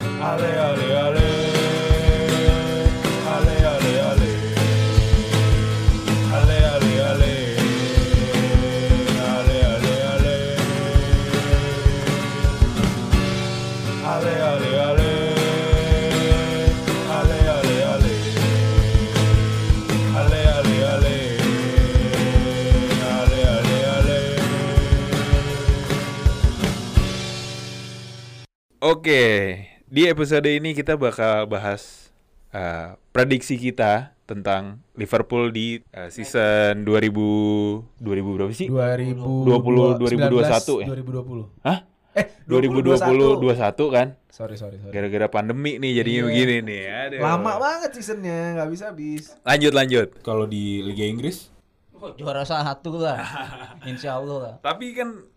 Ale, ale, ale. Ale, ale, ale. Ale, ale, ale. Ale, ale, ale. Ale, ale, ale. Ale, ale, ale. Ale, ale, ale. Ale, ale, ale. Oke, di episode ini kita bakal bahas uh, prediksi kita tentang Liverpool di uh, season 2000 2000 berapa sih? 2020 2021 ya? 2020. Hah? Eh, 2020 2020 21 kan? Sorry, sorry, sorry. Gara-gara pandemi nih jadinya Iya. begini nih. Aduh. Lama banget seasonnya, nggak bisa habis. Lanjut lanjut. Kalau di Liga Inggris, Juara satu lah. Insya Allah lah. tapi kan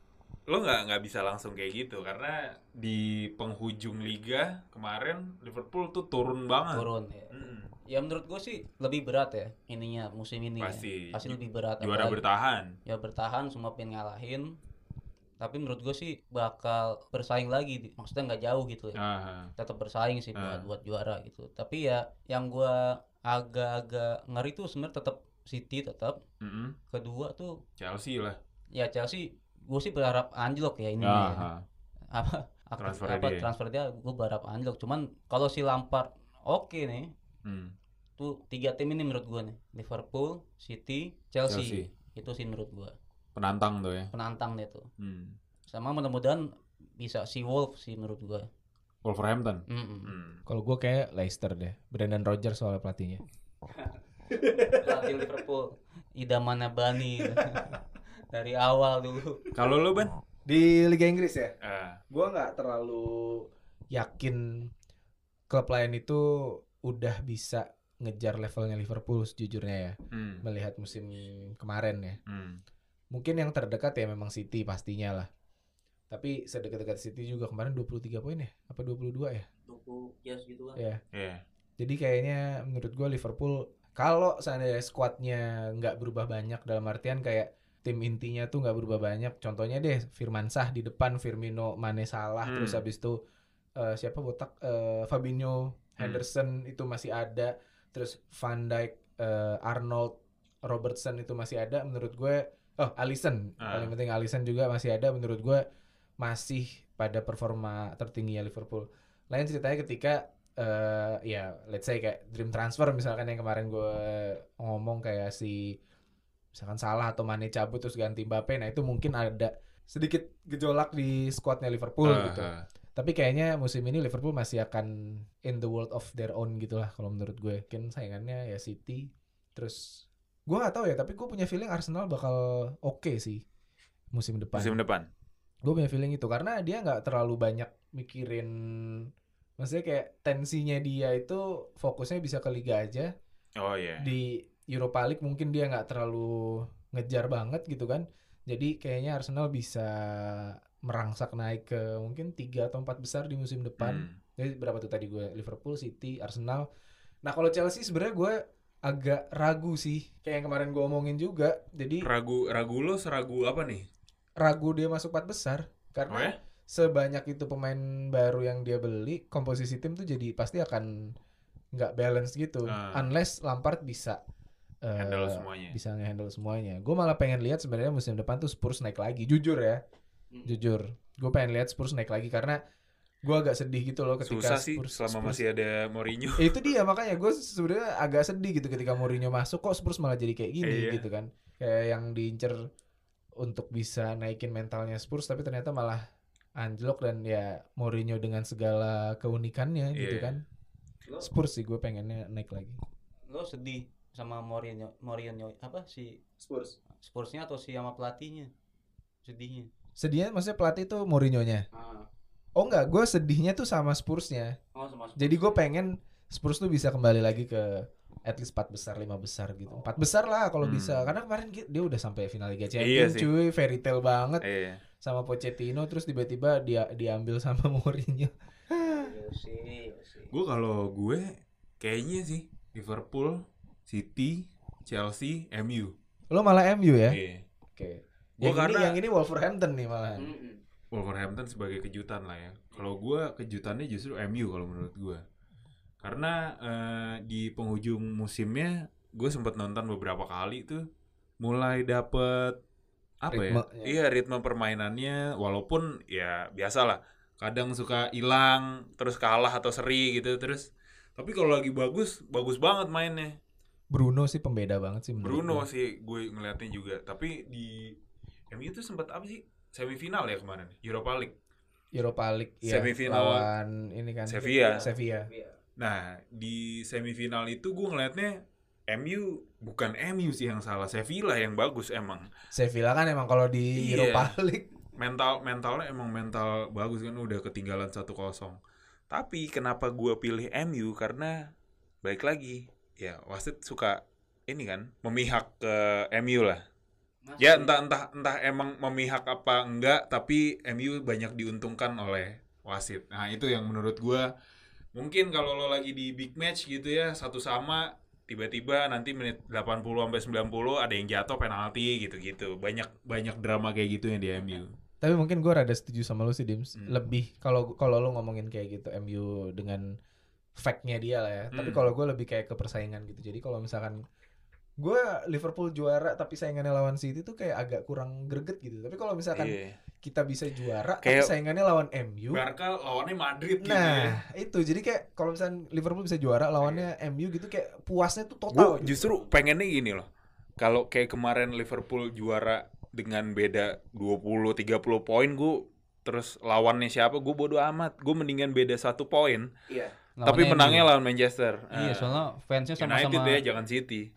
lo nggak nggak bisa langsung kayak gitu karena di penghujung liga kemarin Liverpool tuh turun banget. Hmm, Turun ya. Mm-mm. Ya menurut gue sih lebih berat ya ininya musim ini. ya. Pasti. Pasti lebih berat. Juara apalagi- bertahan. Ya bertahan semua pengen ngalahin. Tapi menurut gue sih bakal bersaing lagi. di- Maksudnya nggak jauh gitu ya. Aha. Tetap bersaing sih buat, Ah. buat juara gitu. Tapi ya yang gue agak-agak ngeri tuh sebenarnya tetap City tetap. Mm-mm. Kedua tuh Chelsea lah. ya Chelsea gue sih berharap anjlok ya Iya. ini. ya. Aha. apa aktif- Transfernya apa Ah, dia. transfer dia gue berharap anjlok cuman kalau si Lampard oke nih Hmm. tuh tiga tim ini menurut gue nih Liverpool City Iya Chelsea, itu sih menurut gue penantang tuh ya. penantang dia tuh Hmm. sama mudah-mudahan bisa si Wolf sih menurut gue Wolverhampton. mm Hmm. Kalau gue kayak Leicester deh, Brendan Rodgers soalnya pelatihnya. pelatih Liverpool idamannya Bani dari awal dulu Kalau lu ban? Di Liga Inggris ya, Ah, gua nggak terlalu yakin Klub lain itu udah bisa ngejar levelnya Liverpool sejujurnya ya, hmm, melihat musim kemarin ya. hmm. Mungkin yang terdekat ya memang City pastinya lah. Tapi sedekat-dekat City juga kemarin 23 poin ya, apa 22 ya? Tuku Jazz gitu kan Ya. Yeah. Jadi kayaknya menurut gue Liverpool kalau seandainya squadnya nggak berubah banyak dalam artian kayak tim intinya tuh nggak berubah banyak. Contohnya deh Firmansah di depan, Firmino, Mane salah, Hmm. terus habis itu eh, siapa botak Eh, Fabinho, Hmm. Henderson itu masih ada, terus Van Dijk, eh, Arnold, Robertson itu masih ada. Menurut gue, oh Alisson Ah. paling penting Alisson juga masih ada. Menurut gue masih pada performa tertinggi ya Liverpool. Lain ceritanya ketika eh ya let's say kayak dream transfer misalkan yang kemarin gue ngomong kayak si misalkan salah atau Mane cabut terus ganti Mbappe nah itu mungkin ada sedikit gejolak di squadnya Liverpool Ah, gitu ah. tapi kayaknya musim ini Liverpool masih akan in the world of their own gitulah kalau menurut gue mungkin saingannya ya City terus gue gak tahu ya tapi gue punya feeling Arsenal bakal oke sih musim depan Musim depan. gue punya feeling itu karena dia nggak terlalu banyak mikirin maksudnya kayak tensinya dia itu fokusnya bisa ke liga aja Oh iya. di Europa League mungkin dia nggak terlalu ngejar banget gitu kan jadi kayaknya Arsenal bisa merangsak naik ke mungkin 3 atau 4 besar di musim depan Hmm. jadi berapa tuh tadi gue Liverpool City Arsenal nah kalau Chelsea sebenarnya gue agak ragu sih kayak yang kemarin gue omongin juga jadi Ragu ragu lo seragu apa nih? ragu dia masuk 4 besar Oh karena ya? sebanyak itu pemain baru yang dia beli, komposisi tim tuh jadi pasti akan nggak balance gitu. Ah. Unless Lampard bisa eh, Handle semuanya. Bisa ngehandle semuanya. Gue malah pengen lihat sebenarnya musim depan tuh Spurs naik lagi. Jujur ya, Hmm. jujur. Gue pengen lihat Spurs naik lagi karena gue agak sedih gitu loh Susah ketika sih Spurs, selama Spurs- masih ada Mourinho. Ya, itu dia makanya gue sebenarnya agak sedih gitu ketika Mourinho masuk kok Spurs malah jadi kayak gini Iya. gitu kan. Kayak yang diincer untuk bisa naikin mentalnya Spurs tapi ternyata malah anjlok dan ya Mourinho dengan segala keunikannya Iya. gitu kan. Spurs sih gue pengennya naik lagi. lo sedih sama Mourinho Mourinho apa si Spurs. Spursnya atau si sama pelatihnya sedihnya Sedihnya maksudnya pelatih itu Mourinho-nya. Oh enggak, gue sedihnya tuh sama Spurs-nya. Oh, sama Spurs. Jadi gue pengen Spurs tuh bisa kembali lagi ke at least 4 besar, 5 besar gitu. 4 besar lah kalau Hmm. bisa. Karena kemarin ki- dia udah sampai final Liga Iya Champions sih. cuy, fairy tale banget. Iya. sama Pochettino terus tiba-tiba dia diambil sama Mourinho. Iya sih, iya sih. Gue kalau gue kayaknya sih Liverpool, City, Chelsea, MU. Lo malah MU ya? Iya. Oke. Gua Yang ini karena- Hmm. yang ini Wolverhampton nih malahan. Mm-mm. Wolverhampton sebagai kejutan lah ya. Kalau gua kejutannya justru MU kalau menurut gua. Karena eh, di penghujung musimnya gue sempat nonton beberapa kali tuh mulai dapet apa Ritmenya. ya? Iya, ritme permainannya walaupun ya biasalah. Kadang suka hilang, terus kalah atau seri gitu terus. Tapi kalau lagi bagus, bagus banget mainnya. Bruno sih pembeda banget sih menurut Bruno gua. sih gue ngeliatnya juga. Tapi di MU itu sempat apa sih? Semifinal ya kemarin, Europa League. Europa League ya, Semifinal. lawan ini kan Sevilla. Sevilla. Nah, di semifinal itu gue ngelihatnya MU bukan MU sih yang salah, Sevilla yang bagus emang. Sevilla kan emang kalau di Iya. Europa League Mental mentalnya emang mental bagus kan udah ketinggalan 1-0. Tapi kenapa gue pilih MU karena baik lagi ya wasit suka ini kan memihak ke MU lah. Ya Gitu. entah entah entah emang memihak apa enggak tapi MU banyak diuntungkan oleh wasit. Nah, itu yang menurut gua mungkin kalau lo lagi di big match gitu ya satu sama tiba-tiba nanti menit 80 sampai 90 ada yang jatuh penalti gitu-gitu. Banyak banyak drama kayak gitu yang di MU. tapi mungkin gue rada setuju sama lu sih Dims Hmm. lebih kalau kalau lu ngomongin kayak gitu MU dengan fact-nya dia lah ya Hmm. tapi kalau gue lebih kayak ke persaingan gitu jadi kalau misalkan gue Liverpool juara tapi saingannya lawan City tuh kayak agak kurang greget gitu tapi kalau misalkan Iya. kita bisa juara Kayak- tapi saingannya lawan MU Barca lawannya Madrid gitu ya. nah itu jadi kayak kalau misalkan Liverpool bisa juara lawannya MU gitu kayak puasnya tuh total gitu. Gue Iya. gitu. justru pengennya gini loh. Kalau kayak kemarin Liverpool juara dengan beda 20-30 poin, gue terus lawannya siapa, gue bodo amat. Gue mendingan beda satu poin, Iya. tapi menangnya lawan Manchester. Iya, Eh, soalnya fansnya United sama-sama. ya, jangan City.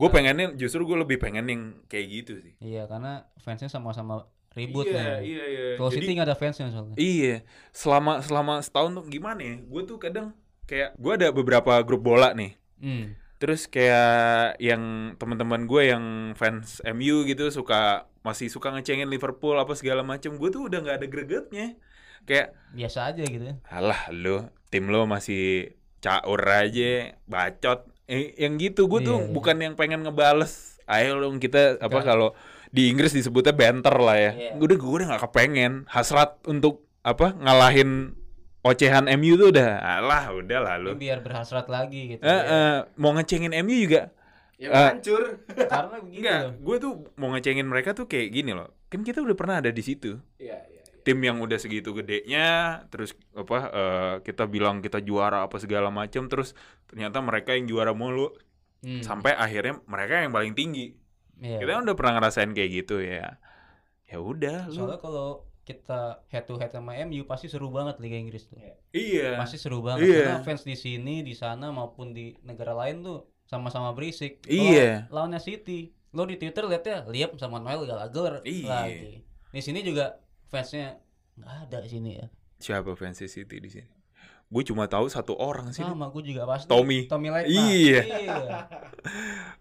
gue pengennya, justru gue lebih pengen yang kayak gitu sih. Iya, karena fansnya sama-sama ribut iya, nih. iya, iya. Kalau Jadi- City nggak ada fansnya soalnya. Iya, selama selama setahun tuh gimana ya? Gue tuh kadang kayak gue ada beberapa grup bola nih. Hmm. Terus kayak yang teman-teman gue yang fans MU gitu suka masih suka ngecengin Liverpool apa segala macam. Gue tuh udah nggak ada gregetnya. Kayak Biasa aja gitu ya. alah lu tim lo masih caur aja, bacot. Eh, yang gitu gue tuh Iya, iya. bukan yang pengen ngebales. Ayo dong kita apa kalau di Inggris disebutnya banter lah ya. Iya. Udah gue udah nggak kepengen hasrat untuk apa ngalahin ocehan MU tuh udah alah udah lah lu. Biar berhasrat lagi gitu. Eh, eh, mau ngecengin MU juga Yang Ah. hancur. Karena begitu. Enggak, gue tuh mau ngecengin mereka tuh kayak gini loh. Kan kita udah pernah ada di situ. Iya, iya. Tim yang udah segitu gedenya, terus apa eh, kita bilang kita juara apa segala macam, terus ternyata mereka yang juara mulu Hmm. sampai akhirnya mereka yang paling tinggi. Iya. Kita kan udah pernah ngerasain kayak gitu ya. Ya udah lu. Soalnya kalau kita head to head sama MU pasti seru banget Liga Inggris tuh. Iya. Pasti seru banget Iya. karena fans di sini, di sana maupun di negara lain tuh sama-sama berisik. Kalau Iya. Lawannya City. Lo di Twitter liatnya Liam sama Noel Gallagher Iya. lagi. Di sini juga fansnya nggak ada di sini ya. Siapa fans City di sini? Gue cuma tahu satu orang sih. Sama gue juga pasti. Tommy. Tommy Laitner. Iya. iya.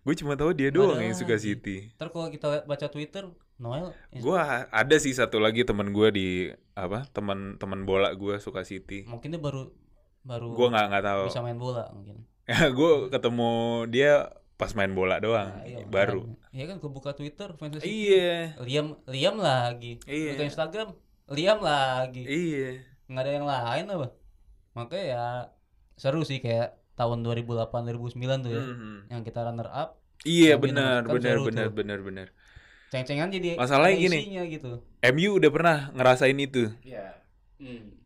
Gue cuma tahu dia Nggak doang ada yang suka lagi. City. Ntar kalau kita liat- baca Twitter, Noel ya, Gua ada sih satu lagi teman gua di apa teman teman bola gua suka City. mungkin dia baru baru Gua nggak nggak tahu. bisa main bola mungkin. gua ketemu dia pas main bola doang Nah, iya, Ah, baru. makanya. Iya kan gue buka Twitter fans City. Iya. Liam Liam lagi. Iya. Buka Instagram Liam lagi. Iya. Nggak ada yang lain apa? Makanya ya seru sih kayak tahun 2008 2009 tuh ya. Mhm. Yang kita runner up, Iya Tapi benar kan benar seru benar tuh. benar benar. ceng-cengan jadi Masalahnya ada gini. isinya gitu. MU udah pernah ngerasain itu. Iya.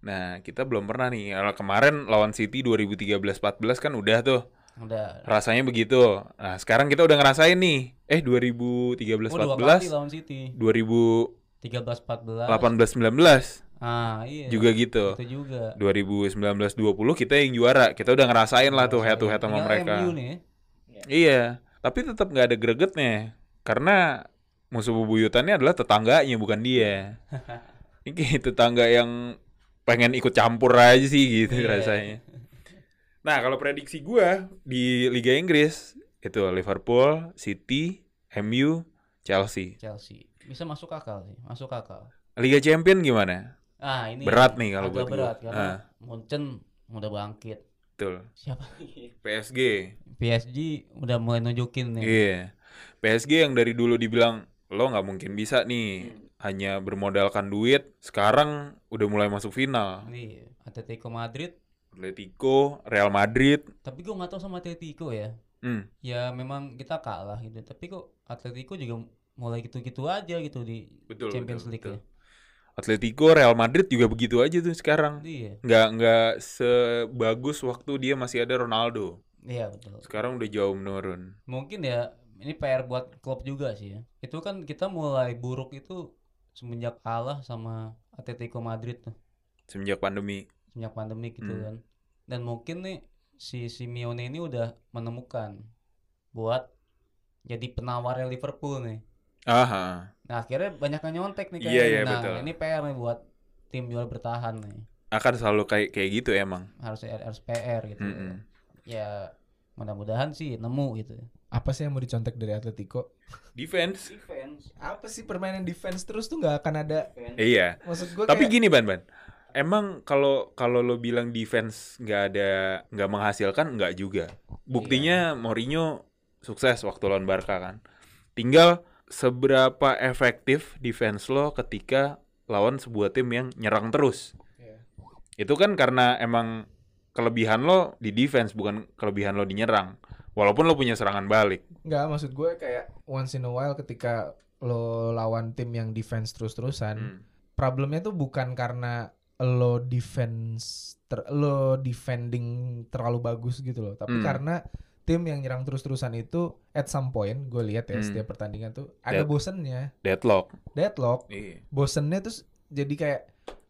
Nah, kita belum pernah nih. Kalau Kemarin lawan City 2013-14 kan udah tuh. Udah. Rasanya begitu. Nah, sekarang kita udah ngerasain nih. Eh Oh, dua kali 2013-14, lawan City. 2018-19 13 14. Ah, iya. ya. juga gitu. Itu juga. 2019-20 kita yang juara. Kita udah ngerasain lah tuh head to head sama Iya, Tinggal mereka. MU nih. ya. Iya, tapi tetap nggak ada gregetnya karena musuh bebuyutannya adalah tetangganya bukan dia. Ini tetangga yang pengen ikut campur aja sih gitu Iya. rasanya. Nah, kalau prediksi gua di Liga Inggris itu Liverpool, City, MU, Chelsea. Chelsea. Bisa masuk akal sih, masuk akal. Liga Champion gimana? Ah, ini Berat nih kalau agak buat gua. berat karena Ah. Munchen udah bangkit. Betul. Siapa? PSG. PSG udah Iya. mulai nunjukin nih. Iya. PSG yang dari dulu dibilang lo nggak mungkin bisa nih. hanya bermodalkan duit, sekarang udah mulai masuk final. Iya, Atletico Madrid. Atletico, Real Madrid. Tapi gue nggak tahu sama Atletico ya. Hmm. Ya memang kita kalah gitu. Tapi kok Atletico juga mulai gitu-gitu aja gitu di Betul, Champions betul, League betul. ya. Atletico, Real Madrid juga begitu aja tuh sekarang. Iya, Nggak nggak sebagus waktu dia masih ada Ronaldo. iya betul. Sekarang udah jauh menurun. Mungkin ya ini PR buat Klopp juga sih ya. Itu kan kita mulai buruk itu semenjak kalah sama Atletico Madrid tuh, Semenjak pandemi. semenjak pandemi gitu Hmm. kan. Dan mungkin nih si Simeone ini udah menemukan buat jadi penawarnya Liverpool nih. Aha. Nah akhirnya banyak yang nyontek Iya, nih kayaknya. iya, nah betul. ini PR nih buat tim jual bertahan nih. Akan selalu kayak kayak gitu emang. Harus harus PR gitu. Mm-mm. Ya mudah-mudahan sih nemu gitu. Apa sih yang mau dicontek dari Atletico? Defense. Defense. Apa sih permainan defense terus tuh nggak akan ada Iya. maksud gue Tapi gini Ban Ban. Emang kalau kalau lo bilang defense nggak ada nggak menghasilkan nggak juga. Buktinya Mourinho sukses waktu lawan Barca kan. Tinggal seberapa efektif defense lo ketika lawan sebuah tim yang nyerang terus. Iya. Itu kan karena emang kelebihan lo di defense bukan kelebihan lo di nyerang. Walaupun lo punya serangan balik. Nggak, maksud gue kayak once in a while ketika lo lawan tim yang defense terus-terusan, Hmm. problemnya tuh bukan karena lo defense ter- lo defending terlalu bagus gitu loh, tapi Hmm. karena tim yang nyerang terus-terusan itu at some point gue lihat ya Hmm. setiap pertandingan tuh ada Dead- bosennya, Deadlock. deadlock, Iya. bosennya terus jadi kayak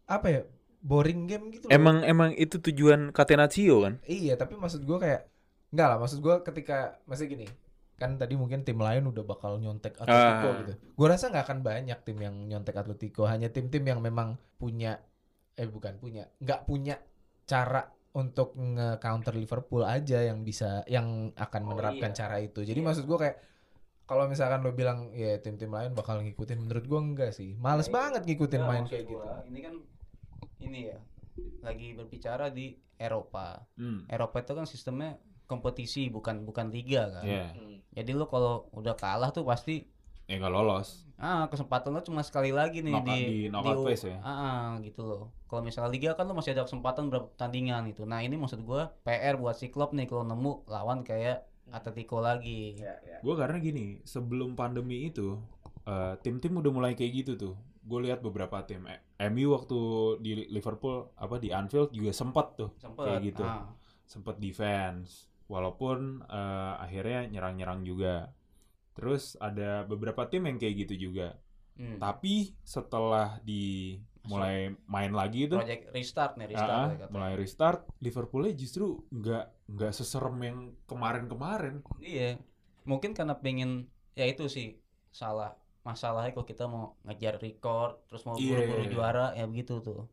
apa ya boring game gitu loh. Emang emang itu tujuan Catenaccio kan? Iya, tapi maksud gue kayak enggak lah. Maksud gue ketika masih gini, kan tadi mungkin tim lain udah bakal nyontek Atletico Ah. gitu. Gue rasa nggak akan banyak tim yang nyontek Atletico. Hanya tim-tim yang memang punya, eh bukan punya, nggak punya cara untuk nge-counter Liverpool aja yang bisa, yang akan Oh, menerapkan iya. cara itu. Jadi Iya. maksud gue kayak kalau misalkan lo bilang ya tim-tim lain bakal ngikutin, menurut gue enggak sih. Males Iya, iya. banget ngikutin main kayak gitu. Ini kan ini ya lagi berbicara di Eropa. Hmm. Eropa itu kan sistemnya kompetisi bukan bukan liga kan. Iya. Jadi lo kalau udah kalah tuh pasti Ya nggak lolos. ah kesempatan lo cuma sekali lagi nih Knockout- di di knockout phase ya? Ah, ah, gitu loh. Kalau misalnya liga kan lo masih ada kesempatan berapa pertandingan gitu. Nah, ini maksud gua PR buat si Klopp nih kalau nemu lawan kayak Atletico lagi. Iya. Gue karena gini, sebelum pandemi itu eh, tim-tim udah mulai kayak gitu tuh. Gue lihat beberapa tim, Eh, MU waktu di Liverpool apa di Anfield juga sempat tuh, Sempet. Kayak gitu. ah. sempat defense. Walaupun eh, akhirnya nyerang-nyerang juga. Terus ada beberapa tim yang kayak gitu juga. Hmm. Tapi setelah di mulai main lagi tuh, Project restart nih, restart ah, ya katanya. mulai restart, Liverpoolnya justru nggak nggak seserem yang kemarin-kemarin. Iya, mungkin karena pengen ya itu sih salah masalahnya kalau kita mau ngejar record terus mau Iya, buru-buru iya, iya. juara ya begitu tuh.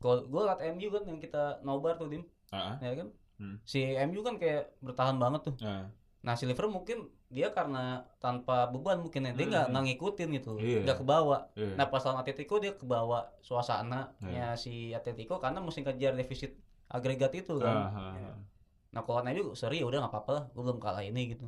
Kalau gue liat MU kan yang kita nobar tuh dim, Ah, ah. ya kan? Hmm. Si MU kan kayak bertahan banget tuh. Ah. Nah si Liverpool mungkin dia karena tanpa beban mungkin ya, dia nggak Hmm. nggak ngikutin gitu, Iya. nggak kebawa. Iya. Nah pas lawan Atletico dia kebawa suasananya si Atletico karena mesti ngejar defisit agregat itu kan. Ah, ah, ah. Nah kalau lawan MU sorry ya udah nggak apa-apa lah, gue belum kalah ini gitu.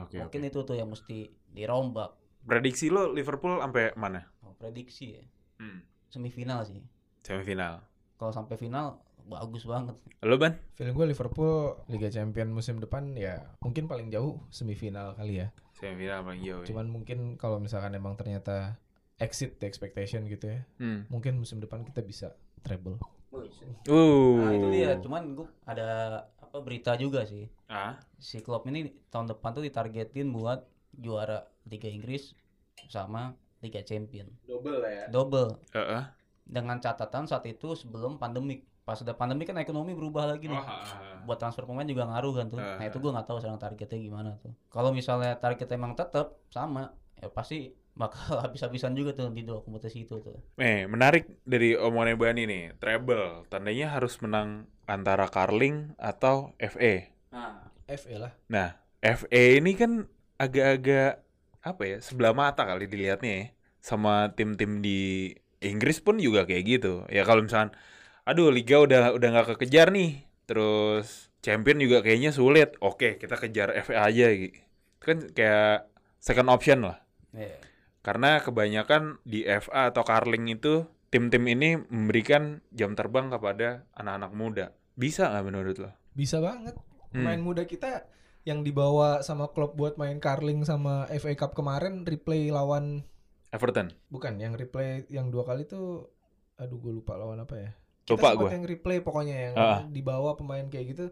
Oke. Mungkin itu tuh yang mesti dirombak. Prediksi lo Liverpool sampai mana? Oh, prediksi ya. Hmm. Semifinal sih. Semifinal. Kalau sampai final bagus banget. Lo ban? Feeling gue Liverpool Liga Champion musim depan ya mungkin paling jauh semifinal kali ya. Semifinal paling jauh. ya. Cuman mungkin kalau misalkan emang ternyata exit the expectation gitu ya, Hmm. mungkin musim depan kita bisa treble. Uh. Nah, itu dia. Cuman gue ada apa berita juga sih. Ah. Si Klopp ini tahun depan tuh ditargetin buat juara Liga Inggris sama Liga Champion. Double lah ya. Double Eh, eh. dengan catatan saat itu sebelum pandemik. Pas udah pandemi kan ekonomi berubah lagi nih. Oh, ah, ah. buat transfer pemain juga ngaruh kan tuh. Nah itu gue nggak tahu sekarang targetnya gimana tuh. Kalau misalnya targetnya emang tetap sama, ya pasti bakal habis-habisan juga tuh di dua kompetisi itu tuh. Eh, menarik dari omongannya Bani nih. Treble, tandanya harus menang antara Carling atau FA. Nah, FA lah. Nah, FA ini kan agak-agak apa ya? Sebelah mata kali dilihatnya ya. sama tim-tim di Inggris pun juga kayak gitu. Ya kalau misalkan aduh liga udah udah nggak kekejar nih. Terus champion juga kayaknya sulit. Iya. Oke, kita kejar FA aja gitu. Kan kayak second option lah. Karena kebanyakan di FA atau Carling itu tim-tim ini memberikan jam terbang kepada anak-anak muda. Bisa nggak menurut lo? Bisa banget. Hmm. Pemain muda kita yang dibawa sama klub buat main Carling sama FA Cup kemarin replay lawan Everton. bukan yang replay yang dua kali tuh aduh gue lupa lawan apa ya. Lupa gue. sempat yang replay pokoknya yang Ah. dibawa pemain kayak gitu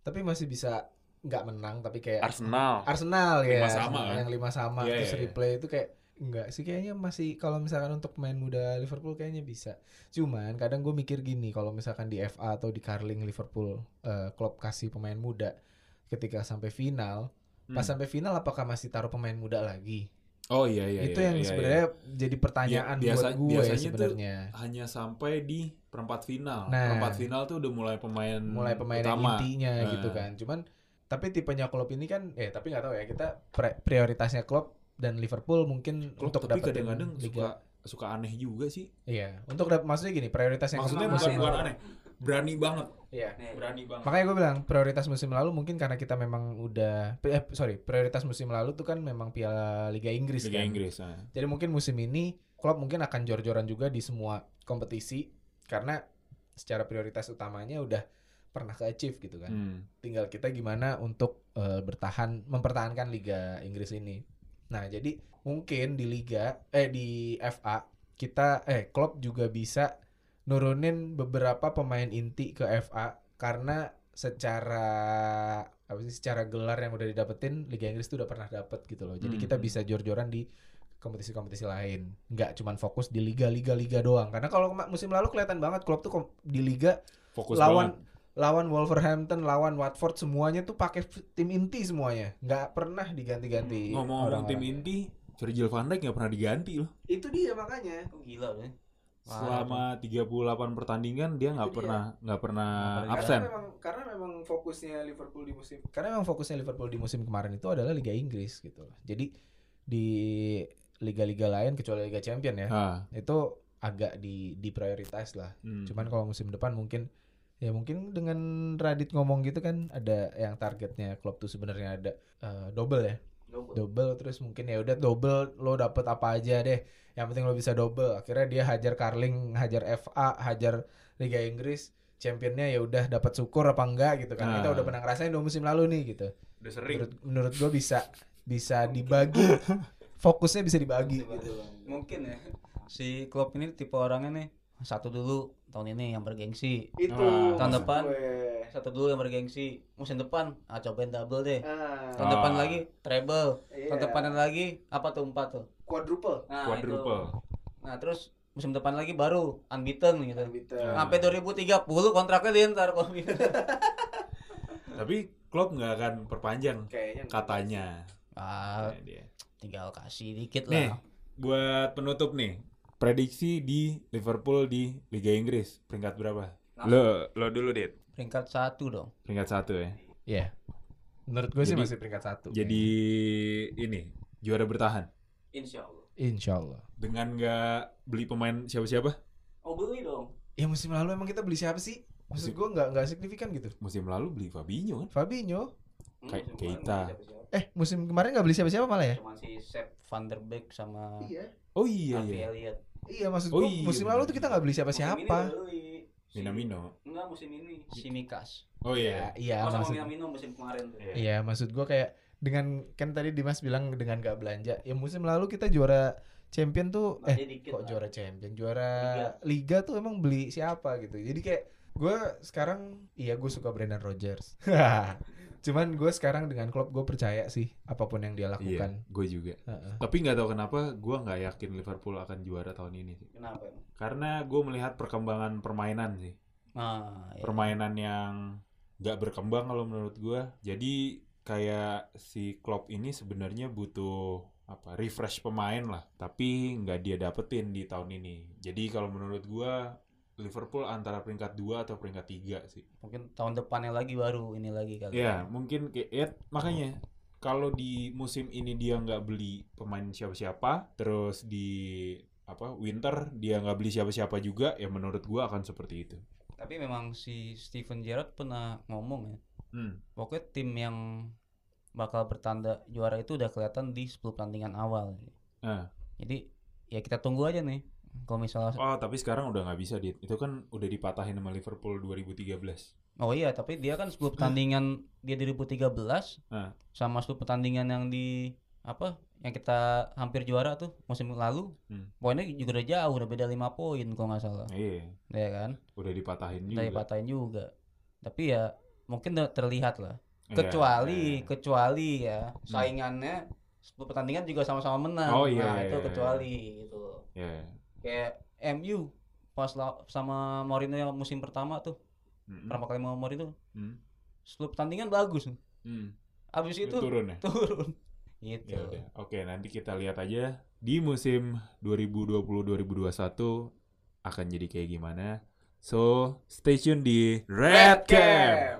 tapi masih bisa nggak menang tapi kayak Arsenal. Arsenal ya. Lima sama, kan? Yang lima sama Iya, terus iya, iya. replay itu kayak enggak sih kayaknya masih kalau misalkan untuk pemain muda Liverpool kayaknya bisa. Cuman kadang gue mikir gini kalau misalkan di FA atau di Carling Liverpool eh, klub kasih pemain muda ketika sampai final, pas Hmm. sampai final apakah masih taruh pemain muda lagi? Oh iya iya. itu iya, yang iya, sebenarnya jadi pertanyaan Bi- biasa- buat gue biasanya tuh- sebenarnya. iya. hanya sampai di perempat final. Nah. perempat final tuh udah mulai pemain mulai pemain yang Hmm, utama. intinya Nah. gitu kan. Cuman tapi tipenya klub ini kan eh tapi nggak tahu ya kita pre- prioritasnya klub dan Liverpool mungkin Klub, untuk tapi dapetin kadang-kadang Liga. suka suka aneh juga sih. Iya, untuk dap- maksudnya gini, prioritas yang Maksudnya kemarin bukan musim bukan lalu. aneh. Berani banget, Iya. berani banget. Makanya gue bilang prioritas musim lalu mungkin karena kita memang udah eh, sorry prioritas musim lalu tuh kan memang Piala Liga Inggris Liga kan. Inggris. Nah. Jadi mungkin musim ini klub mungkin akan jor-joran juga di semua kompetisi karena secara prioritas utamanya udah pernah ke achieve gitu kan. Hmm. Tinggal kita gimana untuk eh, bertahan mempertahankan Liga Inggris ini. Nah, jadi mungkin di liga eh di FA kita eh klub juga bisa nurunin beberapa pemain inti ke FA karena secara apa sih secara gelar yang udah didapetin Liga Inggris itu udah pernah dapet gitu loh. Jadi Hmm. kita bisa jor-joran di kompetisi-kompetisi lain. Nggak cuman fokus di liga-liga liga doang. Karena kalau kema- musim lalu kelihatan banget klub tuh kom- di liga Fokus lawan lawan Wolverhampton, lawan Watford semuanya tuh pakai f- tim inti semuanya. Nggak pernah banget. diganti-ganti. Hmm, Ngomong-ngomong tim orang-orang. inti, Virgil van Dijk nggak pernah diganti loh. Itu dia makanya. Oh, gila udah. Parah Selama 38 pertandingan dia nggak Itu dia. pernah nggak pernah Nggak pernah absen. Karena memang karena memang fokusnya Liverpool di musim karena memang fokusnya Liverpool di musim kemarin itu adalah Liga Inggris gitu. loh. Jadi di liga-liga lain kecuali Liga Champion ya, Ah, itu agak di diprioritas lah. hmm. Cuman kalau musim depan mungkin ya mungkin dengan Radit ngomong gitu kan ada yang targetnya klub tuh sebenarnya ada eh, double ya. Double. Double terus mungkin ya udah double lo dapet apa aja deh. Yang penting lo bisa double. Akhirnya dia hajar Carling, hajar FA, hajar Liga Inggris. Championnya ya udah dapat syukur apa enggak gitu kan. Nah. Kita Ah. udah pernah ngerasain dua musim lalu nih gitu. Udah sering. Menurut, menurut gue bisa bisa dibagi. Fokusnya bisa dibagi gitu. Mungkin ya. Si klub ini tipe orangnya nih satu dulu tahun ini yang bergengsi. Itu Ah. Tahun maksud depan. gue. Satu dulu yang bergengsi. Musim depan ah cobain double deh. Ah, Tahun Ah. depan lagi treble. iya. Tahun depan lagi apa tuh empat tuh. quadruple Nah, Quadruple. itu. Nah, terus musim depan lagi baru unbeaten gitu. Unbeaten. Sampai 2030 kontraknya dia ntar kalau gitu. Tapi Klopp nggak akan perpanjang kayaknya katanya. Ah, Nah, dia. tinggal kasih dikit Nih, lah. buat penutup nih, prediksi di Liverpool di Liga Inggris peringkat berapa? Lo lo dulu, Dit. Peringkat satu dong. Peringkat satu ya. Iya. Menurut gue sih Jadi- masih peringkat satu. Jadi ini juara bertahan Insya Allah. Insya Allah. dengan nggak beli pemain siapa-siapa Oh beli dong. Ya musim lalu emang kita beli siapa sih? Maksud gue nggak nggak signifikan gitu. musim lalu beli Fabinho kan? Fabinho. Hmm, Kayak Keita. Eh musim kemarin nggak beli siapa-siapa malah ya? Cuman si Sepp Van der Beek sama Iya. Oh iya Harvey iya. Elliott. Iya maksud Oh gue iya, musim bener. lalu tuh kita nggak beli Musim ini siapa-siapa. baru beli. Si- Minamino. Enggak musim ini. Si Mikas. Oh iya. Ya, iya oh, sama maksud. Minamino musim kemarin tuh. Iya maksud gue kayak dengan kan tadi Dimas bilang dengan nggak belanja. Ya musim lalu kita juara champion tuh eh Belanja dikit kok lah. juara champion juara liga. tuh emang beli siapa gitu jadi kayak gue sekarang iya gue suka Brendan Rodgers cuman gue sekarang dengan Klopp gue percaya sih apapun yang dia Iya, lakukan gue juga. Heeh. Tapi nggak tahu kenapa gue nggak yakin Liverpool akan juara tahun ini sih. Kenapa emang? Karena gue melihat perkembangan permainan sih. Nah, iya. Permainan yang nggak berkembang kalau menurut gue. Jadi kayak si Klopp ini sebenarnya butuh apa refresh pemain lah. Tapi nggak dia dapetin di tahun ini. Jadi kalau menurut gue Liverpool antara peringkat 2 atau peringkat 3 sih. mungkin tahun depannya lagi baru ini lagi kali. Ya, mungkin kayak ya, makanya kalau di musim ini dia nggak beli pemain siapa-siapa, terus di apa winter dia nggak beli siapa-siapa juga, ya menurut gua akan seperti itu. Tapi memang si Steven Gerrard pernah ngomong ya. Hmm. Pokoknya tim yang bakal bertanda juara itu udah kelihatan di 10 pertandingan awal. Nah. Jadi ya kita tunggu aja nih. Kalau misalnya Oh, tapi sekarang udah nggak bisa, Dit. Itu kan udah dipatahin sama Liverpool 2013. oh iya tapi dia kan 10 pertandingan dia di 2013 Nah. sama 10 pertandingan yang di apa yang kita hampir juara tuh musim lalu Hmm. poinnya juga udah jauh udah beda 5 poin kalau nggak salah Iya, ya kan udah dipatahin juga. udah dipatahin juga tapi ya mungkin udah terlihat lah Iya, kecuali iya. Hmm. kecuali ya saingannya 10 pertandingan juga sama-sama menang Oh, iya, nah iya, itu iya. kecuali gitu Iya. kayak MU pas la- sama Mourinho yang musim pertama tuh Mm-mm. pertama kali sama Mourinho Mm. 10 pertandingan bagus Mm. abis itu turun ya. turun gitu Ya udah. Oke, nanti kita lihat aja di musim 2020-2021 akan jadi kayak gimana. So, stay tune di Red Camp.